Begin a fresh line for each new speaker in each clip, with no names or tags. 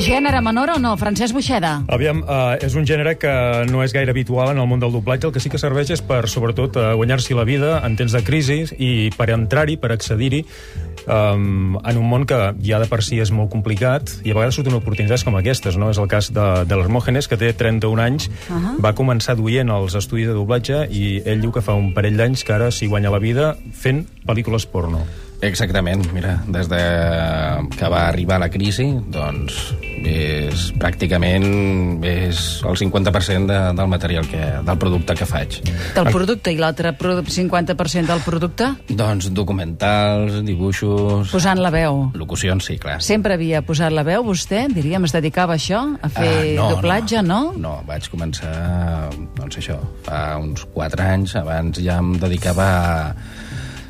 gènere menor o no, Francesc Buixeda?
Aviam, uh, és un gènere que no és gaire habitual en el món del doblatge, el que sí que serveix és per, sobretot, eh, guanyar-s'hi la vida en temps de crisi i per entrar-hi, per accedir-hi, um, en un món que ja de per si és molt complicat i a vegades surten oportunitats com aquestes, no? És el cas de, de l'Hermògenes, que té 31 anys, uh
Ahà.
-huh. va començar duent els estudis de doblatge i ell diu que fa un parell d'anys que ara s'hi guanya la vida fent pel·lícules porno.
Exactament, mira, des de que va arribar la crisi, doncs és pràcticament és el 50% de, del material que, del producte que faig.
Del producte i l'altre produ- 50% del producte?
Doncs documentals, dibuixos,
Posant la veu.
locucions, sí, clar.
Sempre havia posat la veu, vostè, diríem, es dedicava a això, a fer
Ah, no,
doblatge, no?
No, vaig començar, doncs això, fa uns 4 anys, abans ja em dedicava a,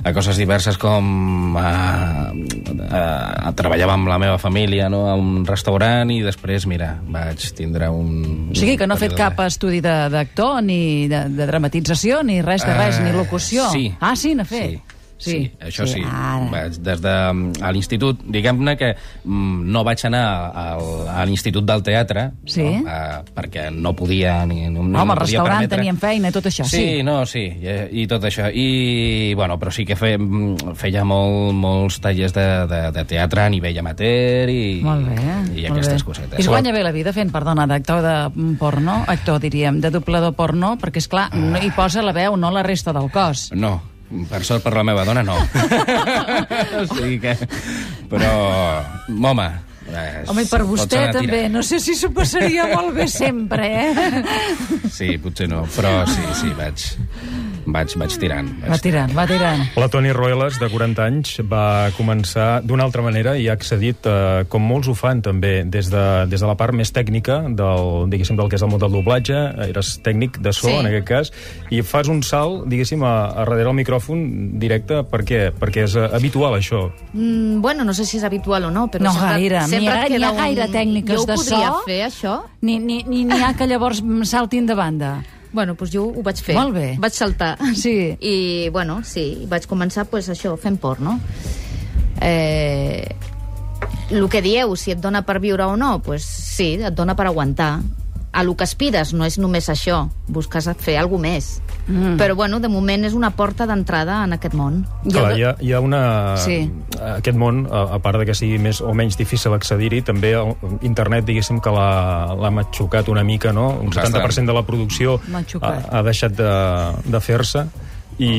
a coses diverses com a, a, a, treballava amb la meva família no? a un restaurant i després, mira, vaig tindre un...
O sigui que no ha fet cap
període
estudi de- d'actor, ni de, de dramatització, ni res de res,
Eh,
ni locució.
Sí.
Ah, sí, n'ha fet?
Sí. Sí, sí, això sí.
Ara.
Vaig des de, a l'institut, diguem-ne que mm, no vaig anar al- a l'institut del teatre
Sí.
no? A, perquè no podia ni,
No,
no,
Home,
no
al
podia
restaurant
permetre...
teníem feina i tot això, sí.
Sí, no, sí, i, i tot això. I, bueno, però sí que fe, mm, feia molt, molts tallers de, de, de teatre a nivell amateur i,
Molt bé.
i
molt
aquestes
bé.
cosetes.
I es guanya bé la vida fent, perdona, d'actor de mm, porno, actor, diríem, de doblador porno, perquè, és clar no hi posa la veu, no la resta del cos.
No, per sort per la meva dona no. o sigui que... Però, home... eh,
Home, i per
pots
vostè
anar
també,
tirant.
no sé si s'ho passaria molt bé sempre, eh?
Sí, potser no, però sí, sí, vaig... Vaig, vaig tirant.
Va
Vaig...
tirant, va tirant.
La Toni Roelas, de 40 anys, va començar d'una altra manera i ha accedit, eh, com molts ho fan també, des de, des de la part més tècnica del, diguéssim, del que és el món del doblatge, eh, eres tècnic de so,
Sí.
sí. en aquest cas, i fas un salt, diguéssim, a, a darrere el micròfon directe, per què? Perquè és eh, habitual, això.
Mm, bueno, no sé si és habitual o no, però
No
sempre,
gaire, n'hi
sempre
ha-
et
n'hi
queda
ha gaire
un...
tècniques
jo ho
de
podria
so.
fer, això.
Ni, ni, ni, ni ha que llavors mm, saltin de banda.
Bueno, doncs jo ho vaig fer.
Molt bé.
Vaig saltar.
Sí.
I, bueno, sí, vaig començar, pues, això, fent porno. Eh, el que dieu, si et dona per viure o no, pues, sí, et dona per aguantar. A lo que aspires no és només això, busques fer alguna més. Mm. Però, bueno, de moment és una porta d'entrada en aquest món.
Clar, hi ha, hi ha una...
Sí.
Aquest món, a, a part de que sigui més o menys difícil accedir-hi, també el, internet, diguéssim, que l'ha l'ha matxucat una mica, no? Un
Bastant.
70% de la producció ha,
Matxucat.
ha deixat de, de fer-se i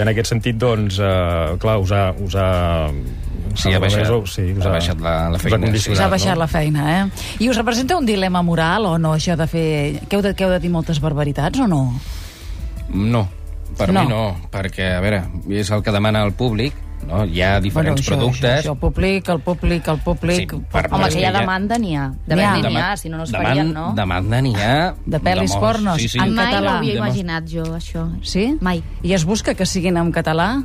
en aquest sentit, doncs, eh, clar, us ha... Us ha
Sí, ha baixat.
sí, us
Ha baixat la-
us ha
la feina, sí.
Us ha
condicionat,
Clar,
baixat
no?
la feina, eh? I us representa un dilema moral o no, això de fer... Que heu de, que heu de dir moltes barbaritats o no?
No, per
No.
mi no, perquè, a veure, és el que demana el públic, no? Hi ha diferents
això,
productes...
Això, això, el públic, el públic, el públic...
Sí, per-
Home,
és
que hi ha
que ja-
demanda n'hi ha. De
N'hi ha.
venda n'hi ha,
Dema-
si no, no es
deman-
farien, no?
Demanda n'hi ha...
Ah, De pel·lis
molts.
pornos,
Sí, sí.
en
Mai
català.
no havia
De molts.
imaginat jo, això.
Sí?
Mai.
I es busca que siguin en català?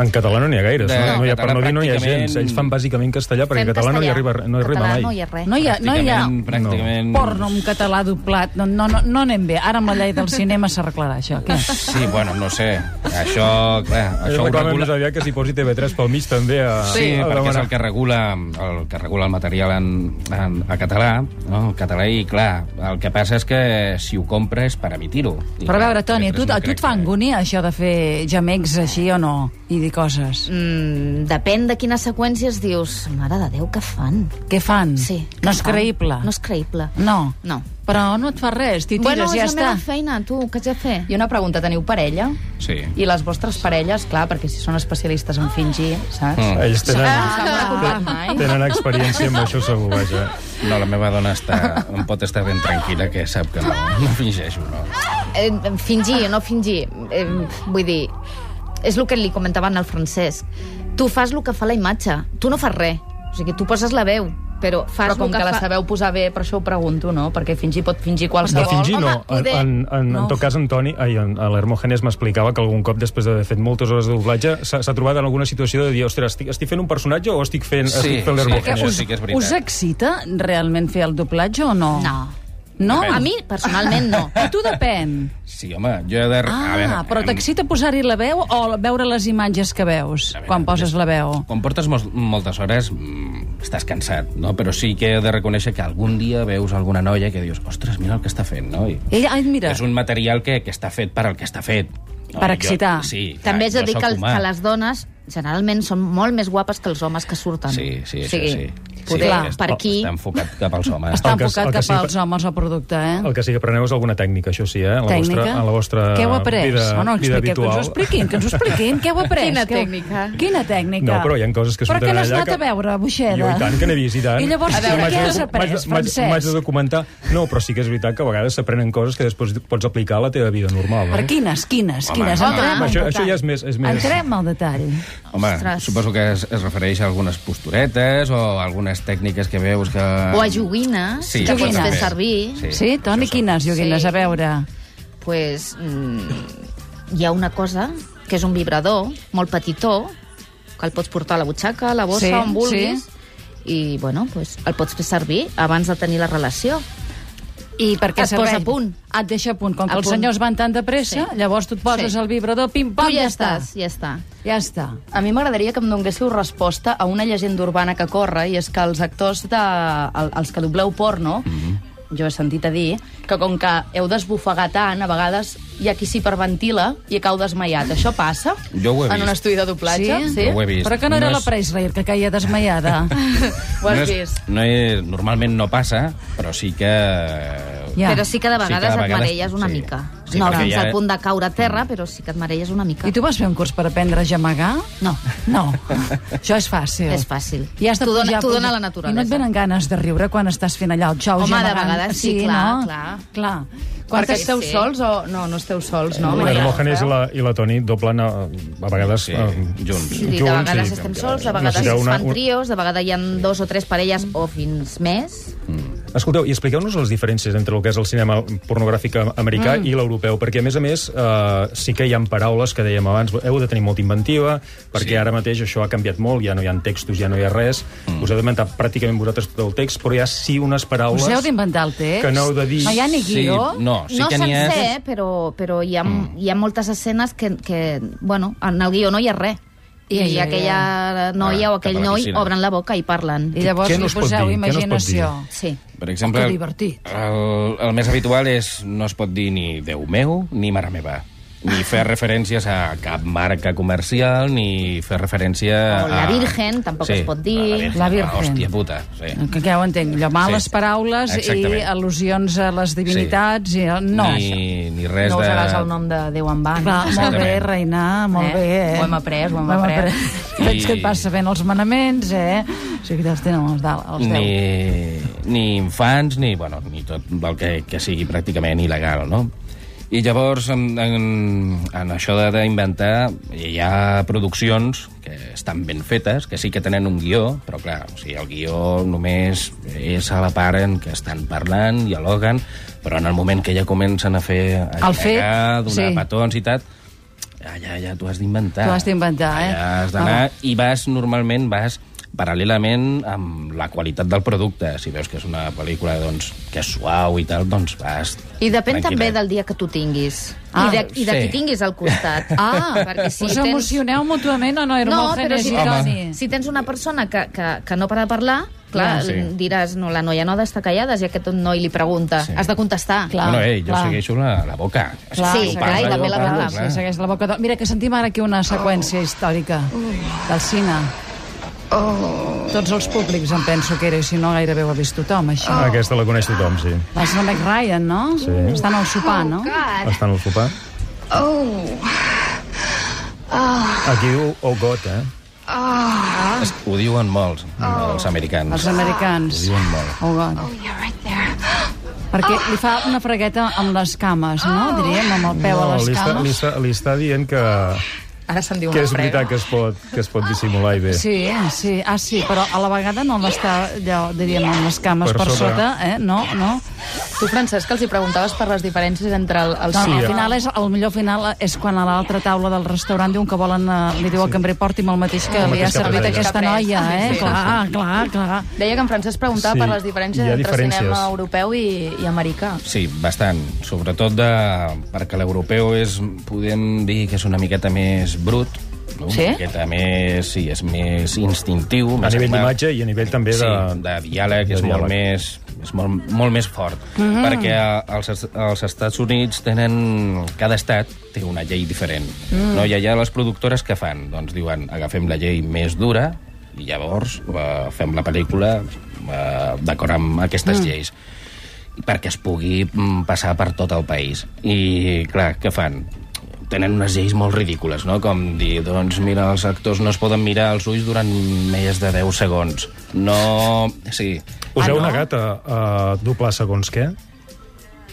En català no n'hi ha gaire,
De-
no, no hi ha, per
català
no dir no hi ha
pràcticament-
gens. Ells fan bàsicament castellà, perquè en
Fem
català no hi
castellà.
arriba, no hi arriba
català
mai.
No hi ha res.
No hi ha, no hi ha
Pràcticament- Pràcticament...
porno en català doblat. No, no, no, no anem bé. Ara amb la llei del cinema s'arreglarà això. Què?
Sí, bueno, no sé. Això, clar,
Això
això
ho
ho
reclamem més
regula...
aviat que s'hi posi TV3 pel mig també a,
Sí,
a
perquè és
demanar.
el que regula el que regula el material en, en, a català, no? el català, i clar, el que passa és que si ho compres per emitir-ho. I
Però a
clar,
veure, Toni, a tu,
nosaltres no
a tu
crec
et fa
que-
angúnia això de fer gemecs així o no? I dir coses.
Mm, depèn de quines seqüències dius. Mare de Déu, què fan?
Què fan?
Sí. què
Mm. No és
fan?
creïble.
No és creïble.
No.
No.
Però no et fa res, t'hi tires,
bueno, és
ja
la
està.
meva feina, tu, què has de fer?
I una pregunta, teniu parella?
Sí.
I les vostres parelles, clar, perquè si són especialistes
Ah.
en fingir, saps?
Mm.
Ells tenen,
No s'han preocupat mai.
tenen experiència amb això segur, vaja.
No, la meva dona està, em pot estar ben tranquil·la, que sap que no, no fingeixo, no.
Eh, fingir o no fingir, eh, vull dir, és el que li comentaven al Francesc. Tu fas el que fa la imatge, tu no fas res. O sigui, tu poses la veu, però fas
Però com
el que,
que la
fa...
sabeu posar bé, per això ho pregunto, no? Perquè fingir pot fingir
De
qualsevol.
fingir no. En,
poder.
en, en, en
No.
tot cas, en Toni, ai, en, a l'Hermògenes m'explicava que algun cop, després d'haver fet moltes hores de doblatge, s'ha s'ha trobat en alguna situació de dir, ostres, estic, estic fent un personatge o estic fent,
Sí,
estic fent
sí,
l'Hermògenes?
això sí que és veritat.
Us excita realment fer el doblatge o no?
No.
No?
A mi, personalment, no.
A tu depèn.
Sí, home, jo he de...
Ah,
a veure,
però
em-
t'excita posar-hi la veu o veure les imatges que veus
A veure,
quan poses la veu?
Quan portes mol moltes hores, mm, estàs cansat, no? Però sí que he de reconèixer que algun dia veus alguna noia que dius, ostres, mira el que està fent, no? I
Eh,
Ella, ai, mira,
és un material que, que està fet per al que està fet. No,
Per
Jo-
excitar.
Sí, clar,
També és
jo
a dir
soc
que, el,
humà.
que les dones generalment són molt més guapes que els homes que surten.
Sí, sí,
O
això
sigui,
sí.
Poder,
clar,
és-
per aquí...
Està enfocat cap als homes.
està
el que-
enfocat
el que
cap
sí que-
als homes el producte, eh?
El que sí que apreneu és alguna tècnica, això sí, eh? En la
Tècnica?
Vostra, en la vostra
Què heu après?
Vida,
oh, no,
vida
expliqueu, que ens ho
habitual.
expliquin, que ens ho expliquin. Què heu après?
Quina
Que heu-
tècnica?
Quina tècnica?
No, però hi ha coses que
Però
surten
que n'has
allà
anat a veure, Buixeda?
Jo i tant, que n'he vist, i tant.
I llavors,
Sí,
què
m'haig de-
has après,
m'haig de- m'haig-
Francesc?
M'haig de documentar. No, però sí que és veritat que a vegades s'aprenen coses que després pots aplicar a la teva vida normal. eh? No?
Per quines, quines,
Home,
quines?
home,
Entrem al
això-
detall.
això ja és més- és més-
Entrem al detall.
Home,
Ostres.
suposo que es, es refereix a algunes posturetes o algunes tècniques que veus que...
O a joguines,
Sí,
que pots
joguines.
fer servir.
Sí,
Sí,
Toni,
això sí.
quines joguines?
Sí.
A veure.
pues, mm, hi ha una cosa, que és un vibrador molt petitó, que el pots portar a la butxaca, a la bossa,
Sí,
on vulguis, i bueno, pues, el pots fer servir abans de tenir la relació.
Doncs
I per què
Et posa
serveix?
a punt.
Et deixa a punt. Com que
A
els
punt.
senyors van tan de pressa,
Sí.
llavors tu et poses
Sí.
el vibrador, pim-pam,
tu ja,
ja, està.
estàs, ja està.
Ja està.
A mi m'agradaria que em donguéssiu resposta a una llegenda urbana que corre, i és que els actors, de, el, els que dobleu porno,
Mhm.
jo he sentit a dir, que com que heu d'esbofegar tant, a vegades hi ha qui s'hiperventila i acau desmaiat. Això passa?
Jo ho he
En un
vist.
estudi de doblatge?
Sí?
sí?
Jo ho he vist.
Però que no,
No
era
és-
la Preisler, que caia desmaiada.
Ho has
no és,
vist?
No és, normalment no passa, però sí que...
Ja.
Però sí que
Sí
de
que de
vegades, et
vegades-
marelles una
sí.
mica.
Sí,
no
perquè
fins
ja-
al punt de caure a terra, però sí que et marelles una mica.
I tu vas fer un curs per aprendre a gemegar?
No.
No. Això és fàcil.
És fàcil.
I has de
T'ho dona-
pujar-
t'ho dona
I
la
no et
naturalesa.
venen ganes de riure quan estàs fent allà el xou
Home, de
gemegant?
vegades sí, clar,
no?
clar.
clar.
Quan
Perquè
Perquè
Sí,
esteu
sí.
sols o... No, no esteu sols, no?
La Hermògenes i la, i la Toni doblen a, a vegades...
Sí,
eh,
junts.
Sí, de
junts,
vegades
sí.
estem sols, de vegades
Necessiteu
es
una-
fan trios, de vegades hi ha dos o tres parelles o fins més.
Escolteu, i expliqueu-nos les diferències entre el que és el cinema pornogràfic americà mm. i l'europeu, perquè a més a més eh, sí que hi ha paraules que dèiem abans, heu de tenir molta inventiva, perquè sí.
Sí.
ara mateix això ha canviat molt, ja no hi ha textos, ja no hi ha res, mm. us heu d'inventar pràcticament vosaltres tot el text, però hi ha sí unes paraules...
Us heu d'inventar el text?
Que no heu de dir-
No hi ha ni
Sí,
guió?
no, sí
no
que n'hi
sencer,
ha... Mm.
però, però hi ha, hi ha moltes escenes que, que, bueno, en el guió no hi ha res. I,
Ja,
I
ja,
aquella noia
Ah,
o aquell
cap a la
noi
piscina.
obren la boca i parlen.
I llavors
Què no
hi
es pot
poseu
dir? Què no es pot
imaginació.
Sí.
Per exemple,
Oh, que divertit.
El, el més habitual és no es pot dir ni Déu meu ni Mare meva ni fer referències a cap marca comercial, ni fer referència
O la
a...
Virgen, tampoc es pot dir.
a
La Virgen.
La Virgen. Ah, Hòstia puta, sí.
Eh, Que, que ja ho entenc, allò, males
Sí.
paraules i
Exactament.
al·lusions a les divinitats i... No, això.
ni, ni res
No
de...
usaràs el nom de Déu en va.
Clar, molt bé,
Exactament.
Reina, molt
Eh?
bé. Eh?
Ho hem après, ho hem après.
I... Veig que et
I-
vas sabent els manaments, eh? O sigui que te'ls tenen els, dalt, els deu.
ni, ni infants, ni, bueno, ni tot el que, que sigui pràcticament il·legal, no? I llavors, en, en, en això de- d'inventar, hi ha produccions que estan ben fetes, que sí que tenen un guió, però clar, o sigui, el guió només és a la part en què estan parlant, dialoguen, però en el moment que ja comencen a fer... A
El fet,
llegar, donar
sí.
petons i tal, allà ja t'ho has d'inventar.
T'ho has d'inventar, eh?
Allà has d'anar i vas, normalment, vas paral·lelament amb la qualitat del producte. Si veus que és una pel·lícula doncs, que és suau i tal, doncs vas...
I depèn
tranquil·let.
també del dia que tu tinguis.
Ah,
I de, i de
sí.
qui tinguis al costat.
Ah,
perquè si
us
tens...
emocioneu mútuament o no?
No, però
Hermògenes
si
i Toni?
tens, si tens una persona que, que, que no para de parlar, clar,
Clar, sí.
diràs, no, la noia no ha d'estar callada, si aquest noi li pregunta.
Sí.
Has de contestar.
Clar.
bueno, ei, jo
clar.
segueixo la, la boca.
Clar,
tu
Sí, clar, i
parles,
la
jo
pela
parlo,
parlar,
clar.
Sí, segueix la boca... de- Mira, que sentim ara aquí una seqüència històrica del cine. Tots els públics em penso que era, i si no gairebé ho ha vist tothom, això.
Ah, aquesta la coneix tothom, sí.
Va ser la McRyan, no?
Sí.
Estan al sopar, no?
Oh,
Estan al sopar.
Ah.
Oh. Aquí diu, oh God, eh?
És que Ho diuen molts, els
Els
americans. Ho
americans.
diuen molt.
Oh, God. Perquè li fa una fregueta amb les cames, no? Diríem, amb el peu a les
li, està, li,
cames.
està, li està dient que,
Ara se'n diu
que
una
és
frega.
veritat que es pot, que es pot dissimular i bé.
Sí, sí, ah, sí, però a la vegada no l'està, allò, diríem, amb les cames
Per
per,
sobre.
sota, eh? No, no.
Tu, Francesc, els hi preguntaves per les diferències entre el, el
no
cinema.
eh.
al final és, el millor final és quan a l'altra taula del restaurant diuen que volen, eh, li diu al cambrer, porti'm el mateix que li ha
El mateix que
servit
pres ella.
aquesta noia, eh?
Sí, sí.
Clar, clar, clar.
Deia que en Francesc preguntava
Sí,
per les diferències
hi ha
entre
diferències.
cinema europeu i, i americà.
Sí, bastant. Sobretot de, perquè l'europeu és, podem dir que és una miqueta més brut, Una
Sí?
miqueta més, sí, és més instintiu.
A
més
nivell
animal.
d'imatge i a nivell també de...
sí, de diàleg,
de
és molt
diàleg.
més, és molt, molt més fort. Mm -hmm. Perquè a- als, es- als Estats Units tenen... Cada estat té una llei diferent. Mm. No? I allà les productores que fan? Doncs diuen, agafem la llei més dura i llavors eh, fem la pel·lícula eh, d'acord amb aquestes mm. lleis perquè es pugui mm, passar per tot el país. I, clar, què fan? tenen unes lleis molt ridícules, no? Com dir, doncs, mira, els actors no es poden mirar als ulls durant més de 10 segons. No... Sí.
Ah,
Poseu
no?
una gata a doblar segons què?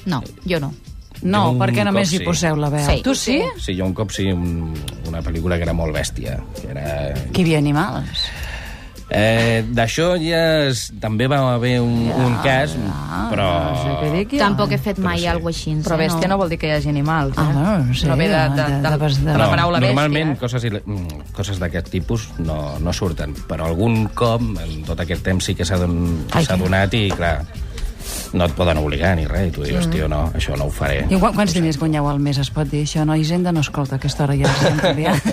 No, jo no.
No,
Jo un
perquè
cop
només hi
sí.
poseu la veu.
Sí.
Tu sí?
Sí, jo un cop sí, un, una pel·lícula que era molt bèstia. Que era...
Que hi havia animals.
Eh, D'això ja es, també va haver un, un cas, però...
Ah, No
Ah.
sé què dic jo.
Tampoc he fet mai alguna cosa així.
Però
eh,
bèstia no. vol dir que hi hagi animals, eh?
Ah, bueno, no sé,
no ve de, de, de,
de- de-
de,
no,
la paraula bèstia. eh?
Normalment coses, il- mm, coses d'aquest tipus no, no surten, però algun cop en tot aquest temps sí que s'ha don-
Ai,
s'ha
que-
donat i, clar, no et poden obligar ni res, i tu
Mm.
dius, tio, no, això no ho faré.
I quan, quants diners guanyeu al mes? Es pot dir això, no? Hisenda no escolta a aquesta hora ja. Ja.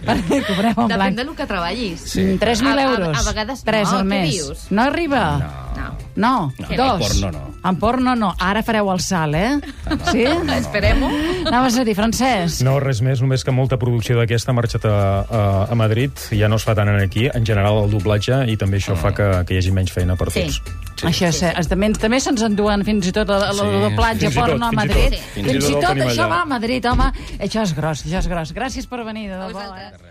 Perquè cobreu en
Depèn
blanc.
del que treballis.
Sí.
Mm, 3.000
A- a-
euros.
a vegades
Tres
no,
al
què
mes.
dius?
No arriba?
No.
No,
No,
no.
en
dos.
porno no.
En porno no. Ara fareu el salt, eh? Sí?
Esperem-ho.
Anaves a dir, Francesc,
No, res més, només que molta producció d'aquesta ha marxat a, a, a Madrid, ja no es fa tant aquí, en general el doblatge, i també
Mm.
això fa que, que hi hagi menys feina per
Sí.
tots.
sí, això sí, sí. també, també se'ns enduen fins i tot el, el, el
Sí,
doblatge
fins i tot,
porno a
fins i tot.
Madrid.
Sí.
Fins i tot,
el tenim
això
allà.
va a Madrid, home. Això és gros, això és gros. Gràcies per venir, de debò. Eh?
vosaltres.